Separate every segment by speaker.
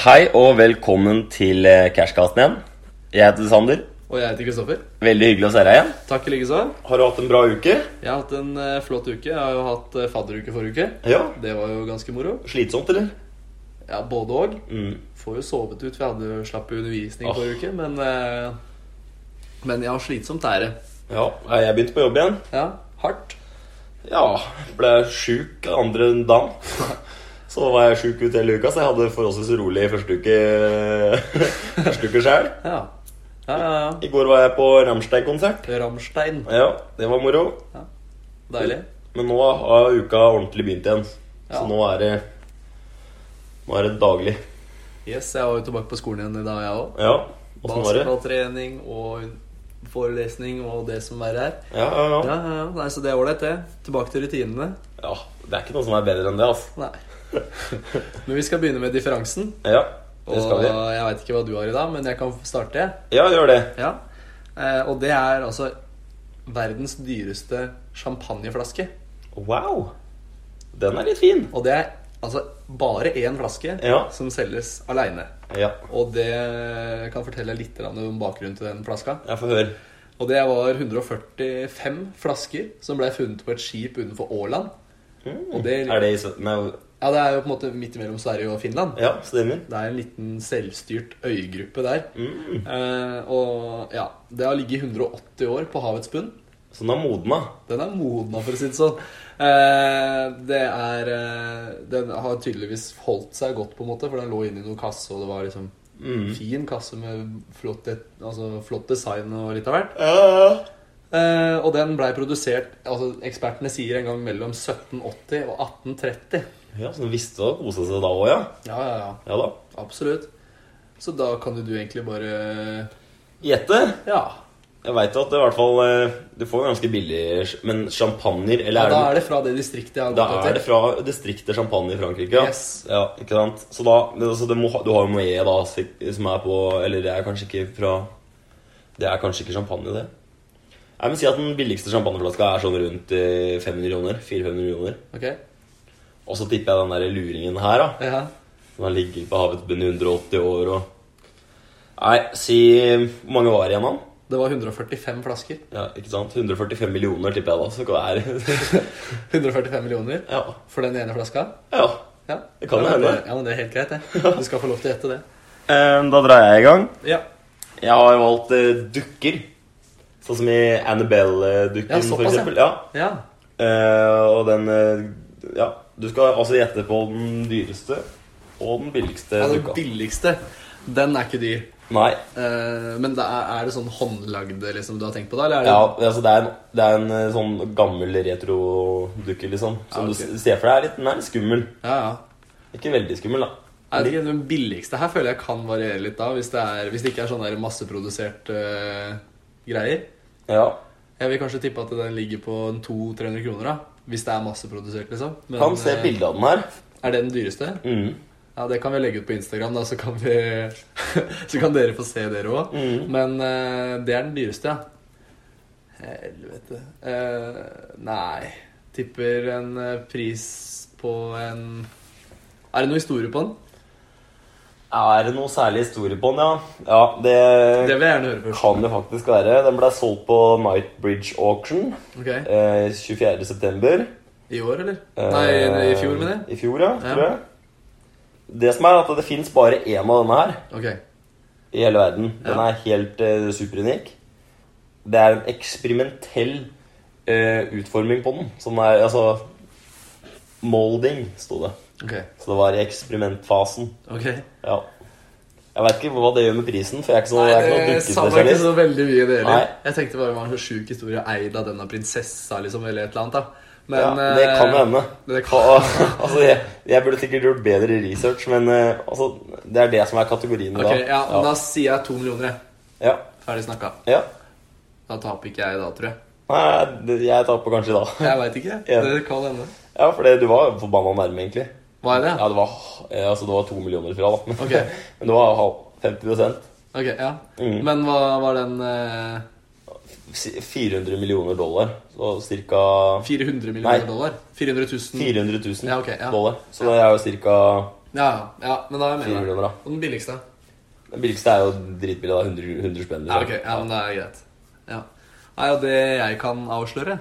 Speaker 1: Hei og velkommen til eh, Cashcasten igjen. Jeg heter Sander.
Speaker 2: Og jeg heter Kristoffer.
Speaker 1: Veldig hyggelig å se deg igjen.
Speaker 2: Takk i likeså.
Speaker 1: Har du hatt en bra uke?
Speaker 2: Jeg har hatt en eh, flott uke. Jeg har jo hatt eh, fadderuke forrige uke.
Speaker 1: Ja.
Speaker 2: Det var jo ganske moro.
Speaker 1: Slitsomt, eller?
Speaker 2: Ja, både og.
Speaker 1: Mm.
Speaker 2: Får jo sovet ut. Vi hadde jo slapp undervisning
Speaker 1: Åh.
Speaker 2: forrige uke, men eh, Men ja, slitsomt er det.
Speaker 1: Ja, jeg begynte på jobb igjen.
Speaker 2: Ja, hardt.
Speaker 1: Ja, ble sjuk andre dagen. Så var jeg sjuk ut hele uka, så jeg hadde forholdsvis rolig første uke Første uke sjøl.
Speaker 2: Ja. Ja, ja, ja.
Speaker 1: I går var jeg på Ramstein-konsert.
Speaker 2: Rammstein.
Speaker 1: Ja, det var moro.
Speaker 2: Deilig.
Speaker 1: Men nå har uka ordentlig begynt igjen. Så
Speaker 2: Ja.
Speaker 1: nå er det Nå er det daglig.
Speaker 2: Yes, jeg var jo tilbake på skolen igjen i dag, jeg òg.
Speaker 1: Ja, åssen var det?
Speaker 2: Basketballtrening og forelesning og det som verre er.
Speaker 1: Ja, ja, ja.
Speaker 2: Ja, ja, ja. Nei, så det er ålreit, det. Tilbake til rutinene.
Speaker 1: Ja, det er ikke noe som er bedre enn det, altså.
Speaker 2: Nei. Men vi skal begynne med differansen.
Speaker 1: Ja, det skal
Speaker 2: Og
Speaker 1: vi.
Speaker 2: jeg veit ikke hva du har i dag, men jeg kan starte. jeg.
Speaker 1: Ja, gjør det.
Speaker 2: Ja. Eh, og det er altså verdens dyreste champagneflaske.
Speaker 1: Wow! Den er litt fin.
Speaker 2: Og det er altså bare én flaske
Speaker 1: Ja.
Speaker 2: som selges aleine.
Speaker 1: Ja,
Speaker 2: Og det kan fortelle litt grann om bakgrunnen til den flaska.
Speaker 1: jeg får høre.
Speaker 2: Og det var 145 flasker som ble funnet på et skip utenfor Åland. Og det-
Speaker 1: Mm. Er det i sø- Nei,
Speaker 2: Ja, det er jo på en måte midt mellom Sverige og Finland.
Speaker 1: ja, stemmer.
Speaker 2: Det er en liten selvstyrt øygruppe der.
Speaker 1: Mm.
Speaker 2: Eh, og ja, Det har ligget 180 år på havets bunn.
Speaker 1: Så den er modna.
Speaker 2: Den er modna, for å si det sånn. Eh, det er, eh, den har tydeligvis holdt seg godt, på en måte, for den lå inni noen kasse, og det var liksom
Speaker 1: Mm.
Speaker 2: fin kasse med flott, det- altså, flott design og litt av hvert.
Speaker 1: Ja,
Speaker 2: Eh, og den blei produsert altså Ekspertene sier en gang mellom 1780 og 1830.
Speaker 1: ja så den visste å kose seg da òg, ja.
Speaker 2: Ja, ja, ja.
Speaker 1: Ja da.
Speaker 2: Absolutt. Så da kan jo du egentlig bare
Speaker 1: Gjette.
Speaker 2: Ja.
Speaker 1: Jeg veit at det i hvert fall eh, Du får jo ganske billig sj- Men champagner
Speaker 2: Ja,
Speaker 1: Eller
Speaker 2: da
Speaker 1: er det
Speaker 2: er det fra det distriktet jeg har
Speaker 1: da
Speaker 2: gått
Speaker 1: er det
Speaker 2: etter.
Speaker 1: fra distriktet Champagne i Frankrike. Ja.
Speaker 2: Yes.
Speaker 1: ja ikke sant? Så da det, altså, det må, ha- Du har jo Moët, da, sik- som er på Eller det er kanskje ikke fra Det er kanskje ikke champagne, det. Jeg vil si at Den billigste champagneflaska er sånn rundt eh, 500 kroner. 400-500 kroner.
Speaker 2: Ok,
Speaker 1: Og så tipper jeg den der luringen her, da.
Speaker 2: ja.
Speaker 1: Den har ligget på havets bunn i 180 år og Nei, si Hvor mange var det igjen, da?
Speaker 2: Det var 145 flasker.
Speaker 1: Ja, ikke sant? 145 millioner, tipper jeg da. Så hva er det?
Speaker 2: 145 millioner
Speaker 1: ja.
Speaker 2: for den ene flaska.
Speaker 1: ja.
Speaker 2: Ja.
Speaker 1: Det kan jo
Speaker 2: ja, men
Speaker 1: hende.
Speaker 2: Ja, men det er helt greit, det. Du skal få lov til å gjette det.
Speaker 1: Eh, da drar jeg i gang.
Speaker 2: Ja,
Speaker 1: Jeg har jo valgt eh, dukker. Sånn som i Annabelle-dukken,
Speaker 2: Ja,
Speaker 1: for
Speaker 2: såpass, ja.
Speaker 1: eksempel. Ja.
Speaker 2: ja.
Speaker 1: Eh, og den eh, Ja. Du skal altså gjette på den dyreste og den billigste
Speaker 2: ja den
Speaker 1: dukka.
Speaker 2: billigste, den er ikke dyr.
Speaker 1: Nei.
Speaker 2: Eh, men det er, er det sånn håndlagde liksom, du har tenkt på, da? Eller er det
Speaker 1: Ja, altså det er en, det er en eh, sånn gammel retrodukke, liksom. Som
Speaker 2: Ja, ok.
Speaker 1: du s- ser for deg er litt, den er litt skummel.
Speaker 2: ja, ja.
Speaker 1: Ikke veldig skummel, da.
Speaker 2: Er det ikke den billigste her føler jeg kan variere litt, da, hvis det, er, hvis det ikke er sånn der masseprodusert eh, greier.
Speaker 1: Ja.
Speaker 2: Jeg vil kanskje tippe at den ligger på en 200-300 kroner, da. Hvis det er masseprodusert, liksom. Men,
Speaker 1: Kan se
Speaker 2: eh,
Speaker 1: bilde av den her.
Speaker 2: Er det den dyreste?
Speaker 1: Mm.
Speaker 2: Ja, det kan vi legge ut på Instagram, da, så kan, vi, så kan dere få se dere òg.
Speaker 1: Mm.
Speaker 2: Men eh, det er den dyreste, ja. Helvete Eh, Nei Tipper en eh, pris på en Er det noe historie på den?
Speaker 1: Er det noe særlig historie på den, ja? Ja, det,
Speaker 2: Det vil jeg gjerne høre først.
Speaker 1: kan det faktisk være. Den ble solgt på Nightbridge Auction
Speaker 2: Ok,
Speaker 1: eh, 24. september.
Speaker 2: I år, eller?
Speaker 1: Eh,
Speaker 2: Nei, i- i fjor, mener jeg.
Speaker 1: I fjor, ja,
Speaker 2: Ja.
Speaker 1: tror jeg. Det som er, at det fins bare én av denne her
Speaker 2: Ok.
Speaker 1: i hele verden. Den
Speaker 2: Ja.
Speaker 1: er helt eh, superunik. Det er en eksperimentell eh, utforming på den. Så den er altså Molding, sto det.
Speaker 2: Ok.
Speaker 1: Så det var i eksperimentfasen.
Speaker 2: ok
Speaker 1: Ja. Jeg veit ikke hva det gjør med prisen, for jeg er ikke sånn, jeg er
Speaker 2: Nei,
Speaker 1: ikke
Speaker 2: det
Speaker 1: noen
Speaker 2: sa meg ikke
Speaker 1: dukkespesialist.
Speaker 2: så veldig mye, det heller.
Speaker 1: Nei.
Speaker 2: Jeg tenkte bare det var en så sjuk historie eid av denne prinsessa, liksom, eller et eller annet, da.
Speaker 1: Ja,
Speaker 2: Men
Speaker 1: det
Speaker 2: eh,
Speaker 1: kan jo hende.
Speaker 2: Det
Speaker 1: Og,
Speaker 2: kan.
Speaker 1: altså, jeg, jeg burde sikkert gjort bedre research, men eh, altså, det er det som er kategorien i
Speaker 2: Ok,
Speaker 1: dag.
Speaker 2: ja, men Da sier jeg to millioner, jeg.
Speaker 1: ja.
Speaker 2: Ferdig snakka.
Speaker 1: ja.
Speaker 2: Da taper ikke jeg da, tror jeg.
Speaker 1: Nei, det- jeg taper kanskje da.
Speaker 2: Jeg veit ikke.
Speaker 1: Ja.
Speaker 2: Det kan hende.
Speaker 1: Ja, for det, du var jo forbanna nærme, egentlig.
Speaker 2: Hva er det?
Speaker 1: Ja, det var, eh, altså, det var to millioner fra, da. Men,
Speaker 2: Ok.
Speaker 1: men det var halv- 50
Speaker 2: Ok, ja.
Speaker 1: Mm.
Speaker 2: Men hva var den eh,
Speaker 1: Si- 400 millioner dollar. Så ca. Nei.
Speaker 2: 400 millioner dollar? 400 000?
Speaker 1: 400 000
Speaker 2: Ja, ok, ja.
Speaker 1: dollar. Så det er jo ca.
Speaker 2: Ja, ja. ja men da er jeg
Speaker 1: 10
Speaker 2: med deg.
Speaker 1: kroner, da.
Speaker 2: Og den billigste?
Speaker 1: Den billigste er jo dritbillig. da, 100, 100 spenn.
Speaker 2: Ja,
Speaker 1: liksom.
Speaker 2: ok, ja, men det er greit. Ja. Nei, og det jeg kan avsløre,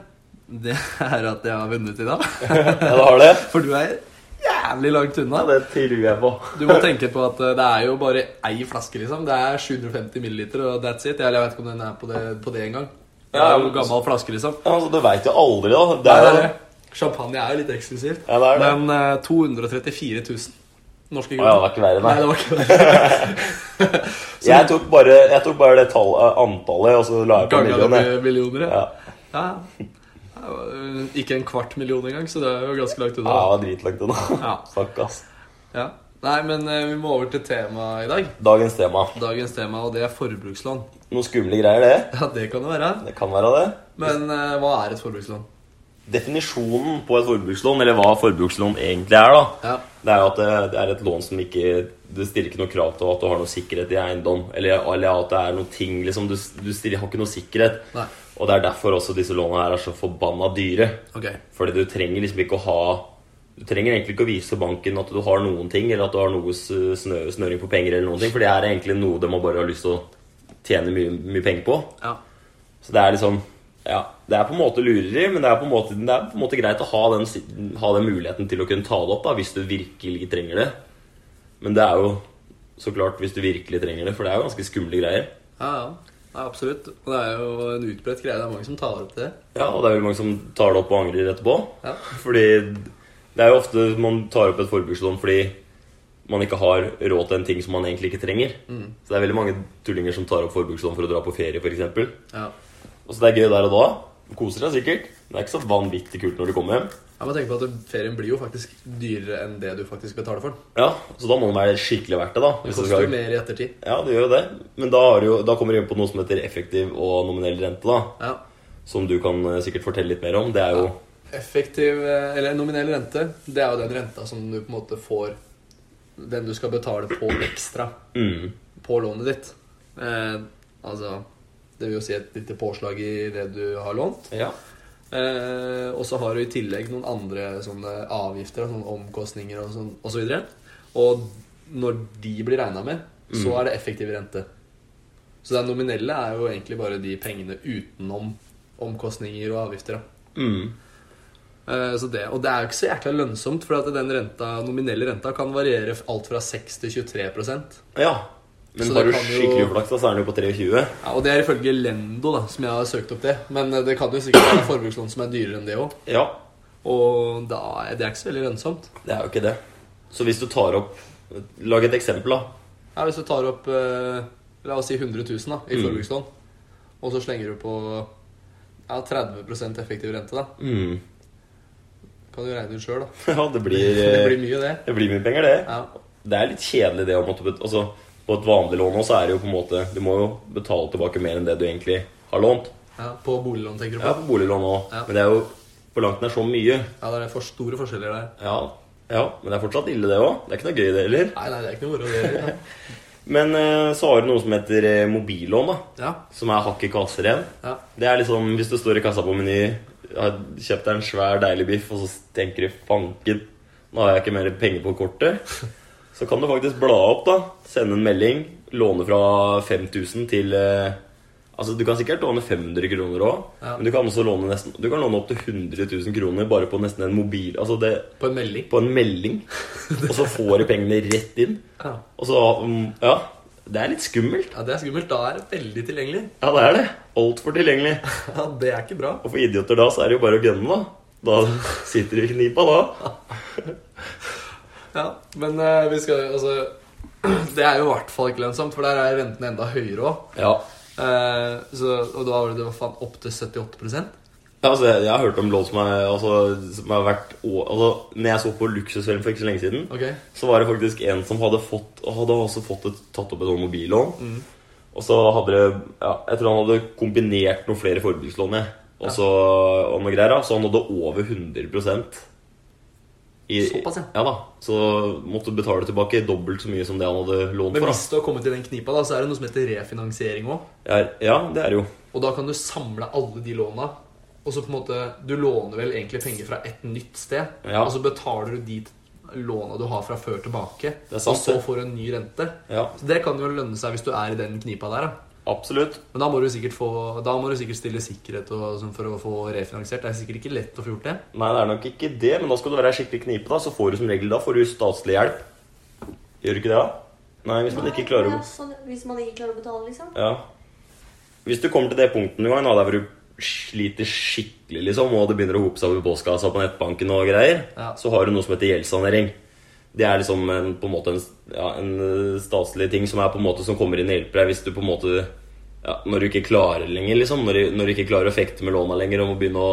Speaker 2: det er at jeg har vunnet i dag.
Speaker 1: Ja, da har du det.
Speaker 2: For du er jævlig langt
Speaker 1: Ja,
Speaker 2: unna.
Speaker 1: det tror jeg på.
Speaker 2: Du må tenke på at eh, det er jo bare ei flaske, liksom. Det er 750 milliliter, og that's it. Eller jeg vet ikke om den er på det, på det engang. Det
Speaker 1: Ja,
Speaker 2: er jo
Speaker 1: men-
Speaker 2: en gammel flaske, liksom.
Speaker 1: Ja, altså, du veit jo aldri, da. Det
Speaker 2: Nei,
Speaker 1: er,
Speaker 2: det
Speaker 1: jo-
Speaker 2: er det. Champagne er jo litt eksklusivt.
Speaker 1: Ja, det er det.
Speaker 2: Men eh, 234 000 norske
Speaker 1: Å ja, det
Speaker 2: kroner.
Speaker 1: var ikke verre,
Speaker 2: Nei,
Speaker 1: nei.
Speaker 2: det var ikke det. Så-
Speaker 1: Jeg tok bare, jeg tok bare det tall, antallet, og så la jeg på
Speaker 2: Ganger det
Speaker 1: millionen. jeg.
Speaker 2: med millioner, ja.
Speaker 1: Ja.
Speaker 2: Ja. Det var, eh, Ikke en kvart million engang, så det er jo ganske
Speaker 1: Ja,
Speaker 2: langt
Speaker 1: det
Speaker 2: unna.
Speaker 1: var dritlangt unna.
Speaker 2: Ja.
Speaker 1: Stakkars.
Speaker 2: Ja. Nei, men eh, vi må over til temaet i dag.
Speaker 1: Dagens tema.
Speaker 2: Dagens tema, og det er forbrukslån.
Speaker 1: Noen skumle greier, det.
Speaker 2: Ja, det kan det være.
Speaker 1: Det kan være det.
Speaker 2: Men eh, hva er et forbrukslån?
Speaker 1: Definisjonen på et forbrukslån, eller hva forbrukslån egentlig er, da,
Speaker 2: Ja.
Speaker 1: det er jo at det, det er et lån som ikke Det stiller ikke noe krav til at du har noe sikkerhet i eiendom. Eller, eller at det er noen ting liksom, du, du stiller, har ikke noe sikkerhet.
Speaker 2: Nei.
Speaker 1: Og det er derfor også disse lånene her er så forbanna dyre.
Speaker 2: Ok.
Speaker 1: Fordi du trenger liksom ikke å ha Du trenger egentlig ikke å vise banken at du har noen ting, eller at du har noe s- snø, snøring på penger, eller noen ting. For det er egentlig noe de har bare har lyst til å tjene mye, mye penger på.
Speaker 2: Ja.
Speaker 1: Så det er liksom Ja, det er på en måte lureri, men det er på en måte, det er på en måte greit å ha den, si- ha den muligheten til å kunne ta det opp da, hvis du virkelig trenger det. Men det er jo så klart hvis du virkelig trenger det, for det er jo ganske skumle greier.
Speaker 2: Ja, ja. Nei, absolutt. Og det er jo en utbredt greie. Det er mange som tar opp det.
Speaker 1: Ja, og det er veldig mange som tar det opp og angrer etterpå.
Speaker 2: Ja.
Speaker 1: Fordi det er jo ofte man tar opp et forbrukslån fordi man ikke har råd til en ting som man egentlig ikke trenger.
Speaker 2: Mm.
Speaker 1: Så det er veldig mange tullinger som tar opp forbrukslån for å dra på ferie, f.eks.
Speaker 2: Ja.
Speaker 1: Og så det er gøy der og da. Koser seg sikkert. Men det er ikke så vanvittig kult når du kommer hjem.
Speaker 2: Jeg må tenke på at ferien blir jo faktisk dyrere enn det du faktisk betaler for den.
Speaker 1: Ja, så da må det være skikkelig verdt det, da.
Speaker 2: Det
Speaker 1: Hvis du
Speaker 2: koster jo
Speaker 1: skal...
Speaker 2: mer i ettertid.
Speaker 1: Ja, det gjør jo det. Men da, har du jo, da kommer du inn på noe som heter effektiv og nominell rente, da.
Speaker 2: Ja.
Speaker 1: Som du kan eh, sikkert fortelle litt mer om. Det er jo
Speaker 2: Effektiv, eh, eller nominell rente, det er jo den renta som du på en måte får Den du skal betale på ekstra
Speaker 1: mm,
Speaker 2: på lånet ditt. Eh, altså Det vil jo si et lite påslag i det du har lånt.
Speaker 1: Ja.
Speaker 2: Eh, og så har du i tillegg noen andre sånne avgifter, sånne omkostninger og sånn og så videre. Og når de blir regna med, så er det effektiv rente. Så det nominelle er jo egentlig bare de pengene utenom omkostninger og avgifter. Da.
Speaker 1: Mm.
Speaker 2: Eh, Så det, og det er jo ikke så jækla lønnsomt, for at den renta, nominelle renta kan variere f- alt fra 6 til 23 ja,
Speaker 1: ja. Men
Speaker 2: Så
Speaker 1: har
Speaker 2: det
Speaker 1: du
Speaker 2: kan jo-
Speaker 1: skikkelig uflaks, da, så er den jo på 23.
Speaker 2: Og det er ifølge Lendo, da, som jeg har søkt opp det. Men eh, det kan jo sikkert være forbrukslån som er dyrere enn det òg.
Speaker 1: Ja,
Speaker 2: Og da er det er ikke så veldig lønnsomt.
Speaker 1: det er jo ikke det. Så hvis du tar opp Lag et eksempel, da.
Speaker 2: Ja, hvis du tar opp eh, La oss si 100 000 da, i
Speaker 1: Mm.
Speaker 2: forbrukslån, og så slenger du på ja, 30 effektiv rente, da.
Speaker 1: Mm.
Speaker 2: Kan du regne ut sjøl, da.
Speaker 1: Ja, det blir,
Speaker 2: Det
Speaker 1: eh,
Speaker 2: blir mye, det.
Speaker 1: det blir mye penger, det.
Speaker 2: Ja.
Speaker 1: Det er litt kjedelig det å måtte bet- altså, På et vanlig lån også er det jo på en måte Du må jo betale tilbake mer enn det du egentlig har lånt.
Speaker 2: Ja, på boliglån, tenker du
Speaker 1: Ja,
Speaker 2: på?
Speaker 1: på boliglån òg,
Speaker 2: Ja.
Speaker 1: men det er jo på langt nær så mye.
Speaker 2: Ja, det er for store forskjeller der.
Speaker 1: Ja, ja Men det er fortsatt ille, det òg. Det er ikke noe gøy, det heller.
Speaker 2: Nei, nei, det er ikke noe moro, det heller. da.
Speaker 1: Men eh, så har du noe som heter eh, mobillån, da.
Speaker 2: Ja,
Speaker 1: Som er hakk i kasser igjen.
Speaker 2: ja.
Speaker 1: Det er liksom hvis du står i kassa på Meny, har kjøpt deg en svær, deilig biff, og så tenker du 'fanken, nå har jeg ikke mer penger på kortet', så kan du faktisk bla opp, da. Sende en melding. Låne fra 5000 til eh, Altså, du kan sikkert låne 500 kroner òg,
Speaker 2: Ja.
Speaker 1: men du kan også låne nesten Du kan låne opptil 100 000 kroner bare på nesten en mobil Altså det
Speaker 2: På en melding.
Speaker 1: På en melding. Og så får du pengene rett inn.
Speaker 2: Ja.
Speaker 1: Og så mm, Ja. Det er litt skummelt.
Speaker 2: ja, det er skummelt. Da er det veldig tilgjengelig.
Speaker 1: Ja, det er det. Altfor tilgjengelig.
Speaker 2: Ja, det er ikke bra.
Speaker 1: Og for idioter da, så er det jo bare å gønne, da. Da sitter du i knipa, da.
Speaker 2: Ja, men eh, vi skal jo altså Det er jo i hvert fall ikke lønnsomt, for der er renten enda høyere òg.
Speaker 1: Ja.
Speaker 2: og da var det, det var faen opptil 78
Speaker 1: altså, jeg har hørt om lån som, er- altså, som har vært å- altså, Når jeg så på Luksusfellen for ikke så lenge siden,
Speaker 2: Ok.
Speaker 1: så var det faktisk en som hadde fått og Hadde også fått et, tatt opp et sånt mobillån.
Speaker 2: Mm.
Speaker 1: Og så hadde det ja, Jeg tror han hadde kombinert noen flere forbrukslån, jeg. Og så, og noe greier, da. Så han hadde over 100 i,
Speaker 2: Såpass, ja.
Speaker 1: ja da. Så måtte betale tilbake dobbelt så mye som det han hadde lånt
Speaker 2: Men
Speaker 1: for.
Speaker 2: hvis du har kommet i den knipa, da, så er det noe som heter refinansiering òg.
Speaker 1: Da. Ja, ja, det er det jo.
Speaker 2: Og da kan du samle alle de låna. Og så på en måte Du låner vel egentlig penger fra et nytt sted,
Speaker 1: Ja.
Speaker 2: og så betaler du de låna du har fra før tilbake,
Speaker 1: Det er sant,
Speaker 2: og så
Speaker 1: det.
Speaker 2: får du en ny rente.
Speaker 1: Ja,
Speaker 2: Så Det kan jo lønne seg hvis du er i den knipa der. Da.
Speaker 1: absolutt.
Speaker 2: Men da må du sikkert, få, da må du sikkert stille sikkerhet og, sånn for å få refinansiert. Det er sikkert ikke lett å få gjort det.
Speaker 1: Nei, det er nok ikke det, men da skal du være i skikkelig knipe, da. Så får du som regel da får du statlig hjelp. Gjør du ikke det, da? Nei, hvis man ikke klarer
Speaker 3: Nei,
Speaker 1: å
Speaker 3: ja, sånn, Hvis man ikke klarer å betale, liksom.
Speaker 1: Ja. Hvis du kommer til det punktet en gang, da, der hvor du sliter skikkelig, liksom, og det begynner å hope seg opp i postkassa på nettbanken og greier,
Speaker 2: Ja.
Speaker 1: så har du noe som heter gjeldssanering. Det er liksom en, på en måte en, ja, en eh, statslig ting som er på en måte som kommer inn og hjelper deg hvis du på en måte ja, Når du ikke klarer lenger, liksom. Når du, når du ikke klarer å fekte med låna lenger og må begynne å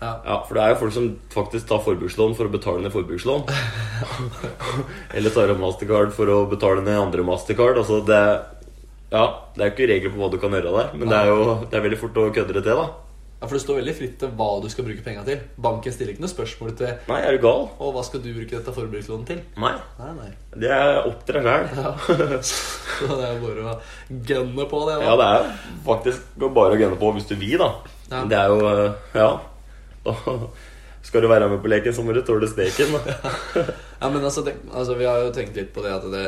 Speaker 2: Ja.
Speaker 1: ja, For det er jo folk som faktisk tar forbrukslån for å betale ned forbrukslån. Eller tar opp mastercard for å betale ned andre mastercard. Altså det, ja, det er ikke regler på hva du kan gjøre der, men det er jo det er veldig fort å kødde det til. da
Speaker 2: Ja, For det står veldig fritt til hva du skal bruke penga til. Banken stiller ikke noe spørsmål til
Speaker 1: Nei, er du gal?
Speaker 2: å, hva skal du bruke dette forbrukslånet til?
Speaker 1: Nei.
Speaker 2: Nei, nei.
Speaker 1: Det er opp til deg sjæl.
Speaker 2: Ja. Så det er bare å gunne på det.
Speaker 1: Ja,
Speaker 2: Da.
Speaker 1: det er faktisk bare å gunne på hvis du vil, da.
Speaker 2: Ja.
Speaker 1: Det er jo eh, Ja. Da skal du være med på leken, så må du tåle steken. da
Speaker 2: Ja, men altså, det, altså, vi har jo tenkt litt på det at det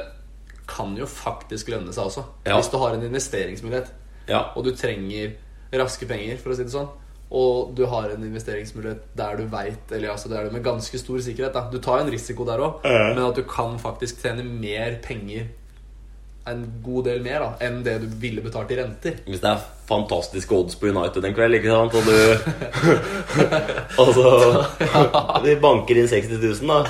Speaker 2: kan jo faktisk lønne seg også.
Speaker 1: Ja.
Speaker 2: Hvis du har en investeringsmulighet,
Speaker 1: Ja.
Speaker 2: og du trenger raske penger, for å si det sånn, og du har en investeringsmulighet der du veit Eller altså der du med ganske stor sikkerhet, da. Du tar jo en risiko der òg,
Speaker 1: Ja.
Speaker 2: men at du kan faktisk tjene mer penger, en god del mer, da, enn det du ville betalt i renter.
Speaker 1: Hvis det er fantastiske odds på United en kveld, ikke sant, og du Altså Du banker inn 60 000, da.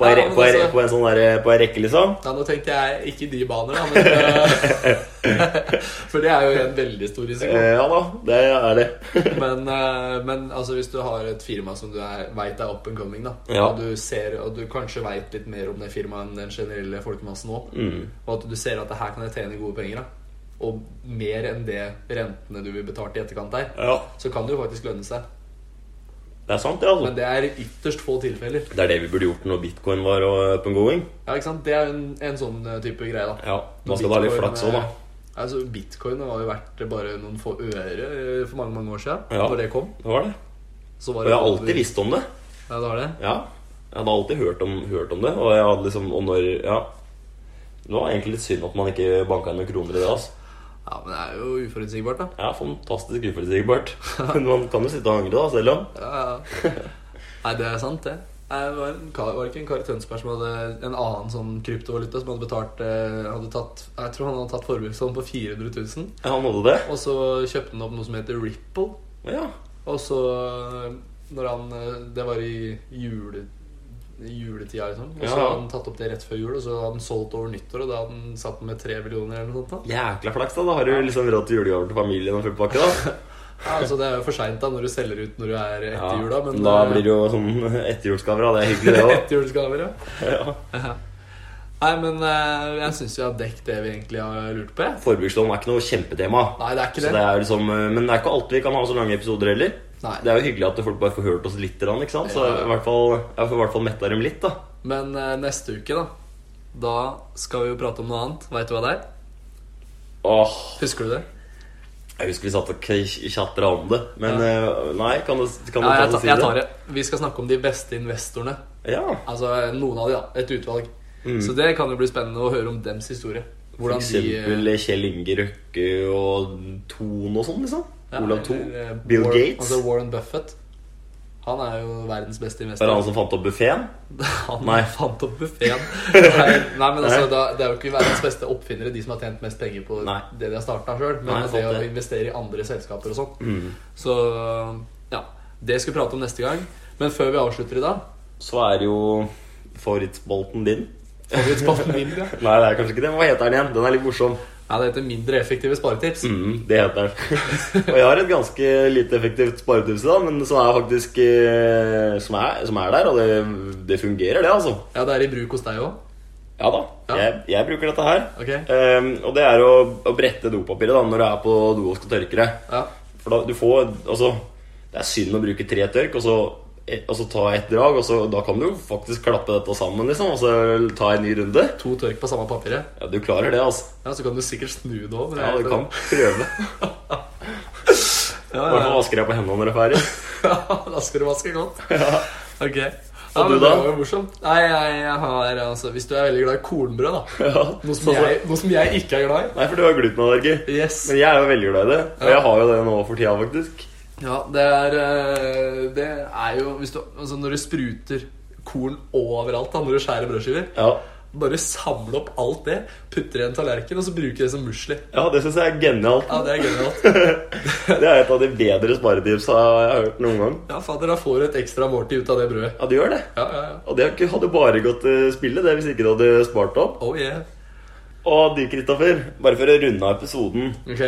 Speaker 1: På ei,
Speaker 2: Ja,
Speaker 1: re-
Speaker 2: men
Speaker 1: på ei, re-
Speaker 2: altså-
Speaker 1: på en sånn der, på ei rekke, liksom.
Speaker 2: Ja, nå tenkte jeg ikke de baner, da, men eh, For det er jo en veldig stor risiko.
Speaker 1: Eh, ja da, det er det.
Speaker 2: Men, eh, men altså, hvis du har et firma som du er, vet er up and coming, da,
Speaker 1: Ja.
Speaker 2: og, du ser, og du kanskje veit litt mer om det firmaet enn den generelle folkemassen nå,
Speaker 1: Mm.
Speaker 2: og at du ser at det her kan jeg tjene gode penger, da, og mer enn det rentene du vil betalt i etterkant der,
Speaker 1: Ja,
Speaker 2: så kan det jo faktisk lønne seg.
Speaker 1: det er sant, det, altså.
Speaker 2: Men det er ytterst få tilfeller.
Speaker 1: Det er det vi burde gjort når bitcoin var eh, up and going.
Speaker 2: Ja, ikke sant? Det er jo en, en sånn eh, type greie, da.
Speaker 1: Ja, Man skal da ha litt
Speaker 2: Bitcoin,
Speaker 1: flaks òg, da.
Speaker 2: eh, Altså, Bitcoin var jo verdt bare noen få øre eh, for mange mange år siden.
Speaker 1: Ja.
Speaker 2: Når det kom.
Speaker 1: Det var det.
Speaker 2: Så var
Speaker 1: Og
Speaker 2: det
Speaker 1: jeg har alltid visst om det.
Speaker 2: Ja, det var det.
Speaker 1: Ja, jeg hadde alltid hørt om, hørt om det, og jeg hadde liksom Og når Ja. Det var egentlig litt synd at man ikke banka inn noen kroner i det. altså
Speaker 2: Ja, Men det er jo uforutsigbart, da.
Speaker 1: Ja, fantastisk uforutsigbart. Men man kan jo sitte og angre, da, selv om.
Speaker 2: Ja, ja. Nei, det er sant, det. Nei, Det var, en, kar- var det ikke en kar i Tønsberg som hadde en annen sånn kryptovaluta som hadde betalt eh, hadde tatt, Jeg tror han hadde tatt forbrukslån på 400 000.
Speaker 1: Ja, han hadde det.
Speaker 2: Og så kjøpte han opp noe som heter Ripple.
Speaker 1: Ja.
Speaker 2: Og så eh, når han eh, Det var i jule, juletida, liksom. Og så
Speaker 1: Ja.
Speaker 2: hadde han tatt opp det rett før jul, og så hadde han solgt over nyttår, og da hadde han satt med tre millioner eller noe sånt. da
Speaker 1: Jækla flaks, da. Da har du liksom råd til julegaver til familien og full pakke, da.
Speaker 2: Ja, altså Det er jo for seint når du selger ut når du er etter
Speaker 1: Ja,
Speaker 2: jula, men eh,
Speaker 1: da blir det jo sånn etterjulsgaver, da. Det er hyggelig, det òg.
Speaker 2: Etterjulsgaver, ja.
Speaker 1: Ja.
Speaker 2: Nei, men eh, jeg syns vi har dekket det vi egentlig har lurt på. jeg.
Speaker 1: Forbrukslån er ikke noe kjempetema.
Speaker 2: Nei, det er
Speaker 1: Så
Speaker 2: ikke
Speaker 1: det
Speaker 2: det.
Speaker 1: er liksom, men det er ikke alltid vi kan ha så lange episoder heller.
Speaker 2: Nei.
Speaker 1: Det er jo hyggelig at folk bare får hørt oss litt. grann, Ikke sant? Så
Speaker 2: Ja.
Speaker 1: i hvert fall, jeg får i hvert fall metta dem litt. da
Speaker 2: Men eh, neste uke, da Da skal vi jo prate om noe annet. Veit du hva det er?
Speaker 1: Åh,
Speaker 2: Husker du det?
Speaker 1: Jeg husker vi satt og k- tjatra om det. Men eh, nei, kan du, kan du
Speaker 2: Ja,
Speaker 1: ta
Speaker 2: jeg, ta,
Speaker 1: og si
Speaker 2: jeg tar det. Vi skal snakke om de beste investorene.
Speaker 1: det? Ja, mm.
Speaker 2: Altså noen av de, da. Et utvalg. Så det kan jo bli spennende å høre om dems historie.
Speaker 1: For
Speaker 2: Hvordan de eh,
Speaker 1: eksempel Kjell Inge Røkke og Thon og sånn, liksom.
Speaker 2: ja,
Speaker 1: Olav Thon.
Speaker 2: eller, eh,
Speaker 1: Bill
Speaker 2: Warren,
Speaker 1: Gates.
Speaker 2: Altså Warren Buffett. Han er jo verdens beste
Speaker 1: Var
Speaker 2: investor.
Speaker 1: det han som fant opp buffeen?
Speaker 2: Han
Speaker 1: Nei.
Speaker 2: fant opp buffeen. Nei, nei, men altså,
Speaker 1: Nei.
Speaker 2: da, det er jo ikke verdens beste oppfinnere, de som har tjent mest penger på
Speaker 1: Nei.
Speaker 2: det de har starta sjøl, men
Speaker 1: Nei,
Speaker 2: det
Speaker 1: sant
Speaker 2: å
Speaker 1: det. Mm.
Speaker 2: investere i andre selskaper og sånn. Så ja. Det skal vi prate om neste gang. Men før vi avslutter i dag
Speaker 1: Så er jo favorittspalten din.
Speaker 2: Favorittspalten min, ja.
Speaker 1: Nei, det er kanskje ikke det. men Hva heter den igjen? Den er litt morsom.
Speaker 2: ja, det heter Mindre effektive sparetips.
Speaker 1: Mm, det heter den. og jeg har et ganske lite effektivt sparetips, da, men som er faktisk eh, Som er, som er der, og det, det fungerer, det, altså.
Speaker 2: Ja, det er i bruk hos deg òg.
Speaker 1: Ja da.
Speaker 2: Ja.
Speaker 1: Jeg, jeg bruker dette her.
Speaker 2: Ok.
Speaker 1: Eh, og det er å, å brette dopapiret da når du er på do og skal tørke deg.
Speaker 2: Ja.
Speaker 1: For da, du får, altså, det er synd å bruke tre tørk, og så, e, og så ta ett drag, og så, da kan du jo faktisk klappe dette sammen, liksom, og så ta en ny runde.
Speaker 2: To tørk på samme papiret.
Speaker 1: Ja, du klarer det, altså.
Speaker 2: Ja, Så kan du sikkert snu det òg.
Speaker 1: Ja, du kan prøve. I
Speaker 2: Ja,
Speaker 1: hvert fall
Speaker 2: ja.
Speaker 1: vasker jeg på hendene når det er ferdig.
Speaker 2: ja, da skal du vaske godt. Ok.
Speaker 1: Og du
Speaker 2: men
Speaker 1: da?
Speaker 2: Det var jo morsomt. Nei, jeg, jeg har altså Hvis du er veldig glad i kornbrød, da.
Speaker 1: Ja.
Speaker 2: Noe som, jeg, noe som jeg ikke er glad i.
Speaker 1: Nei, for du har glutenallergi.
Speaker 2: Yes.
Speaker 1: Men jeg er jo veldig glad i det. Og
Speaker 2: Ja.
Speaker 1: jeg har jo det nå for tida, faktisk.
Speaker 2: Ja, det er eh, Det er jo hvis du, altså Når du spruter korn overalt da, når du skjærer brødskiver
Speaker 1: Ja,
Speaker 2: Bare samle opp alt det, putter det i en tallerken og så bruke det som musli.
Speaker 1: ja det syns jeg er genialt.
Speaker 2: Ja, det er gøyalt.
Speaker 1: Det er et av de bedre sparetipsa jeg har hørt noen gang.
Speaker 2: Ja, fader, da får du et ekstra måltid ut av det brødet.
Speaker 1: Ja, du gjør det.
Speaker 2: Ja, ja, ja.
Speaker 1: Og det hadde bare gått eh, spillet det hvis ikke du hadde spart opp.
Speaker 2: Oh yeah.
Speaker 1: Og du, Kristoffer, bare for å runde av episoden
Speaker 2: Ok.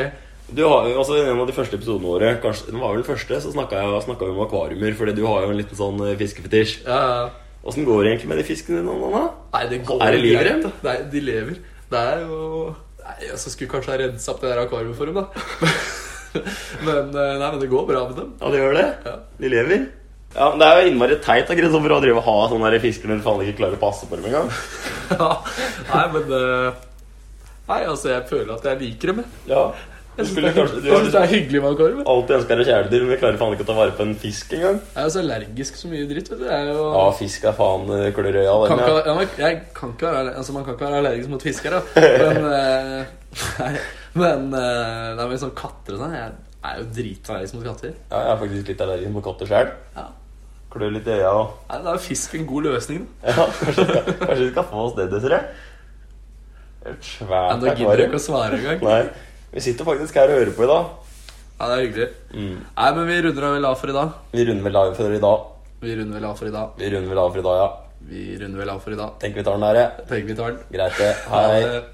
Speaker 1: Du har jo, altså I en av de første episodene våre, kanskje, den var vel den første, så snakka vi om akvariumer. Fordi du har jo en liten sånn eh, fiskefetisj.
Speaker 2: Ja, ja.
Speaker 1: Åssen går det egentlig med de fiskene dine? Anna?
Speaker 2: Nei, det går
Speaker 1: Er det liv i
Speaker 2: greit,
Speaker 1: dem?
Speaker 2: da. Nei, de lever. Det er jo Nei, jeg skulle kanskje ha rensa opp det der akvariet for dem, da. men, eh, nei, men det går bra med dem.
Speaker 1: Ja, det gjør det.
Speaker 2: Ja.
Speaker 1: De lever. Ja, men Det er jo innmari teit av Kristoffer å drive og ha sånne der fisker når du faen ikke klarer å passe på dem engang.
Speaker 2: nei, men eh, Nei, altså, jeg føler at jeg liker dem. jeg.
Speaker 1: Ja. Du
Speaker 2: Jeg syns det,
Speaker 1: skulle
Speaker 2: er
Speaker 1: kanskje
Speaker 2: hyggelig-
Speaker 1: Du
Speaker 2: jeg synes det
Speaker 1: har
Speaker 2: er hyggelig med akvarium. jeg.
Speaker 1: alltid ønska deg kjæledyr, men du klarer faen ikke å ta vare på en fisk engang.
Speaker 2: Jeg er jo så allergisk så mye dritt, vet du. Jeg er jo
Speaker 1: Ja, fisk er faen eh, klør i øya.
Speaker 2: kan
Speaker 1: den,
Speaker 2: ikke,
Speaker 1: ja.
Speaker 2: ja, men jeg kan ikke være, altså Man kan ikke være allergisk mot fisker, da. Men, eh, nei, men, eh, nei, men sånn katter og sånn Jeg er jo dritallergisk mot katter.
Speaker 1: ja, jeg er faktisk litt allergisk mot katter sjøl.
Speaker 2: Ja.
Speaker 1: Klør litt i øya og
Speaker 2: Nei, Da er jo fisk en god løsning. da.
Speaker 1: Ja, kanskje, vi skal- kanskje vi skal få oss det, Desiree? Et
Speaker 2: Ja,
Speaker 1: svært
Speaker 2: Da gidder jeg ikke
Speaker 1: akvarium.
Speaker 2: å svare engang.
Speaker 1: Nei, vi sitter faktisk her og hører på i dag.
Speaker 2: Ja, det er hyggelig.
Speaker 1: Mm.
Speaker 2: Nei, men vi runder vel av for i dag.
Speaker 1: Vi runder vel av for i dag.
Speaker 2: Vi runder vel av for i dag.
Speaker 1: Vi runder vel av for i dag, ja.
Speaker 2: Vi runder vel av for i dag.
Speaker 1: Tenker vi tar den der, ja.
Speaker 2: Tenker vi tar den.
Speaker 1: Greit, det.
Speaker 2: Ha
Speaker 1: Hei.
Speaker 2: det.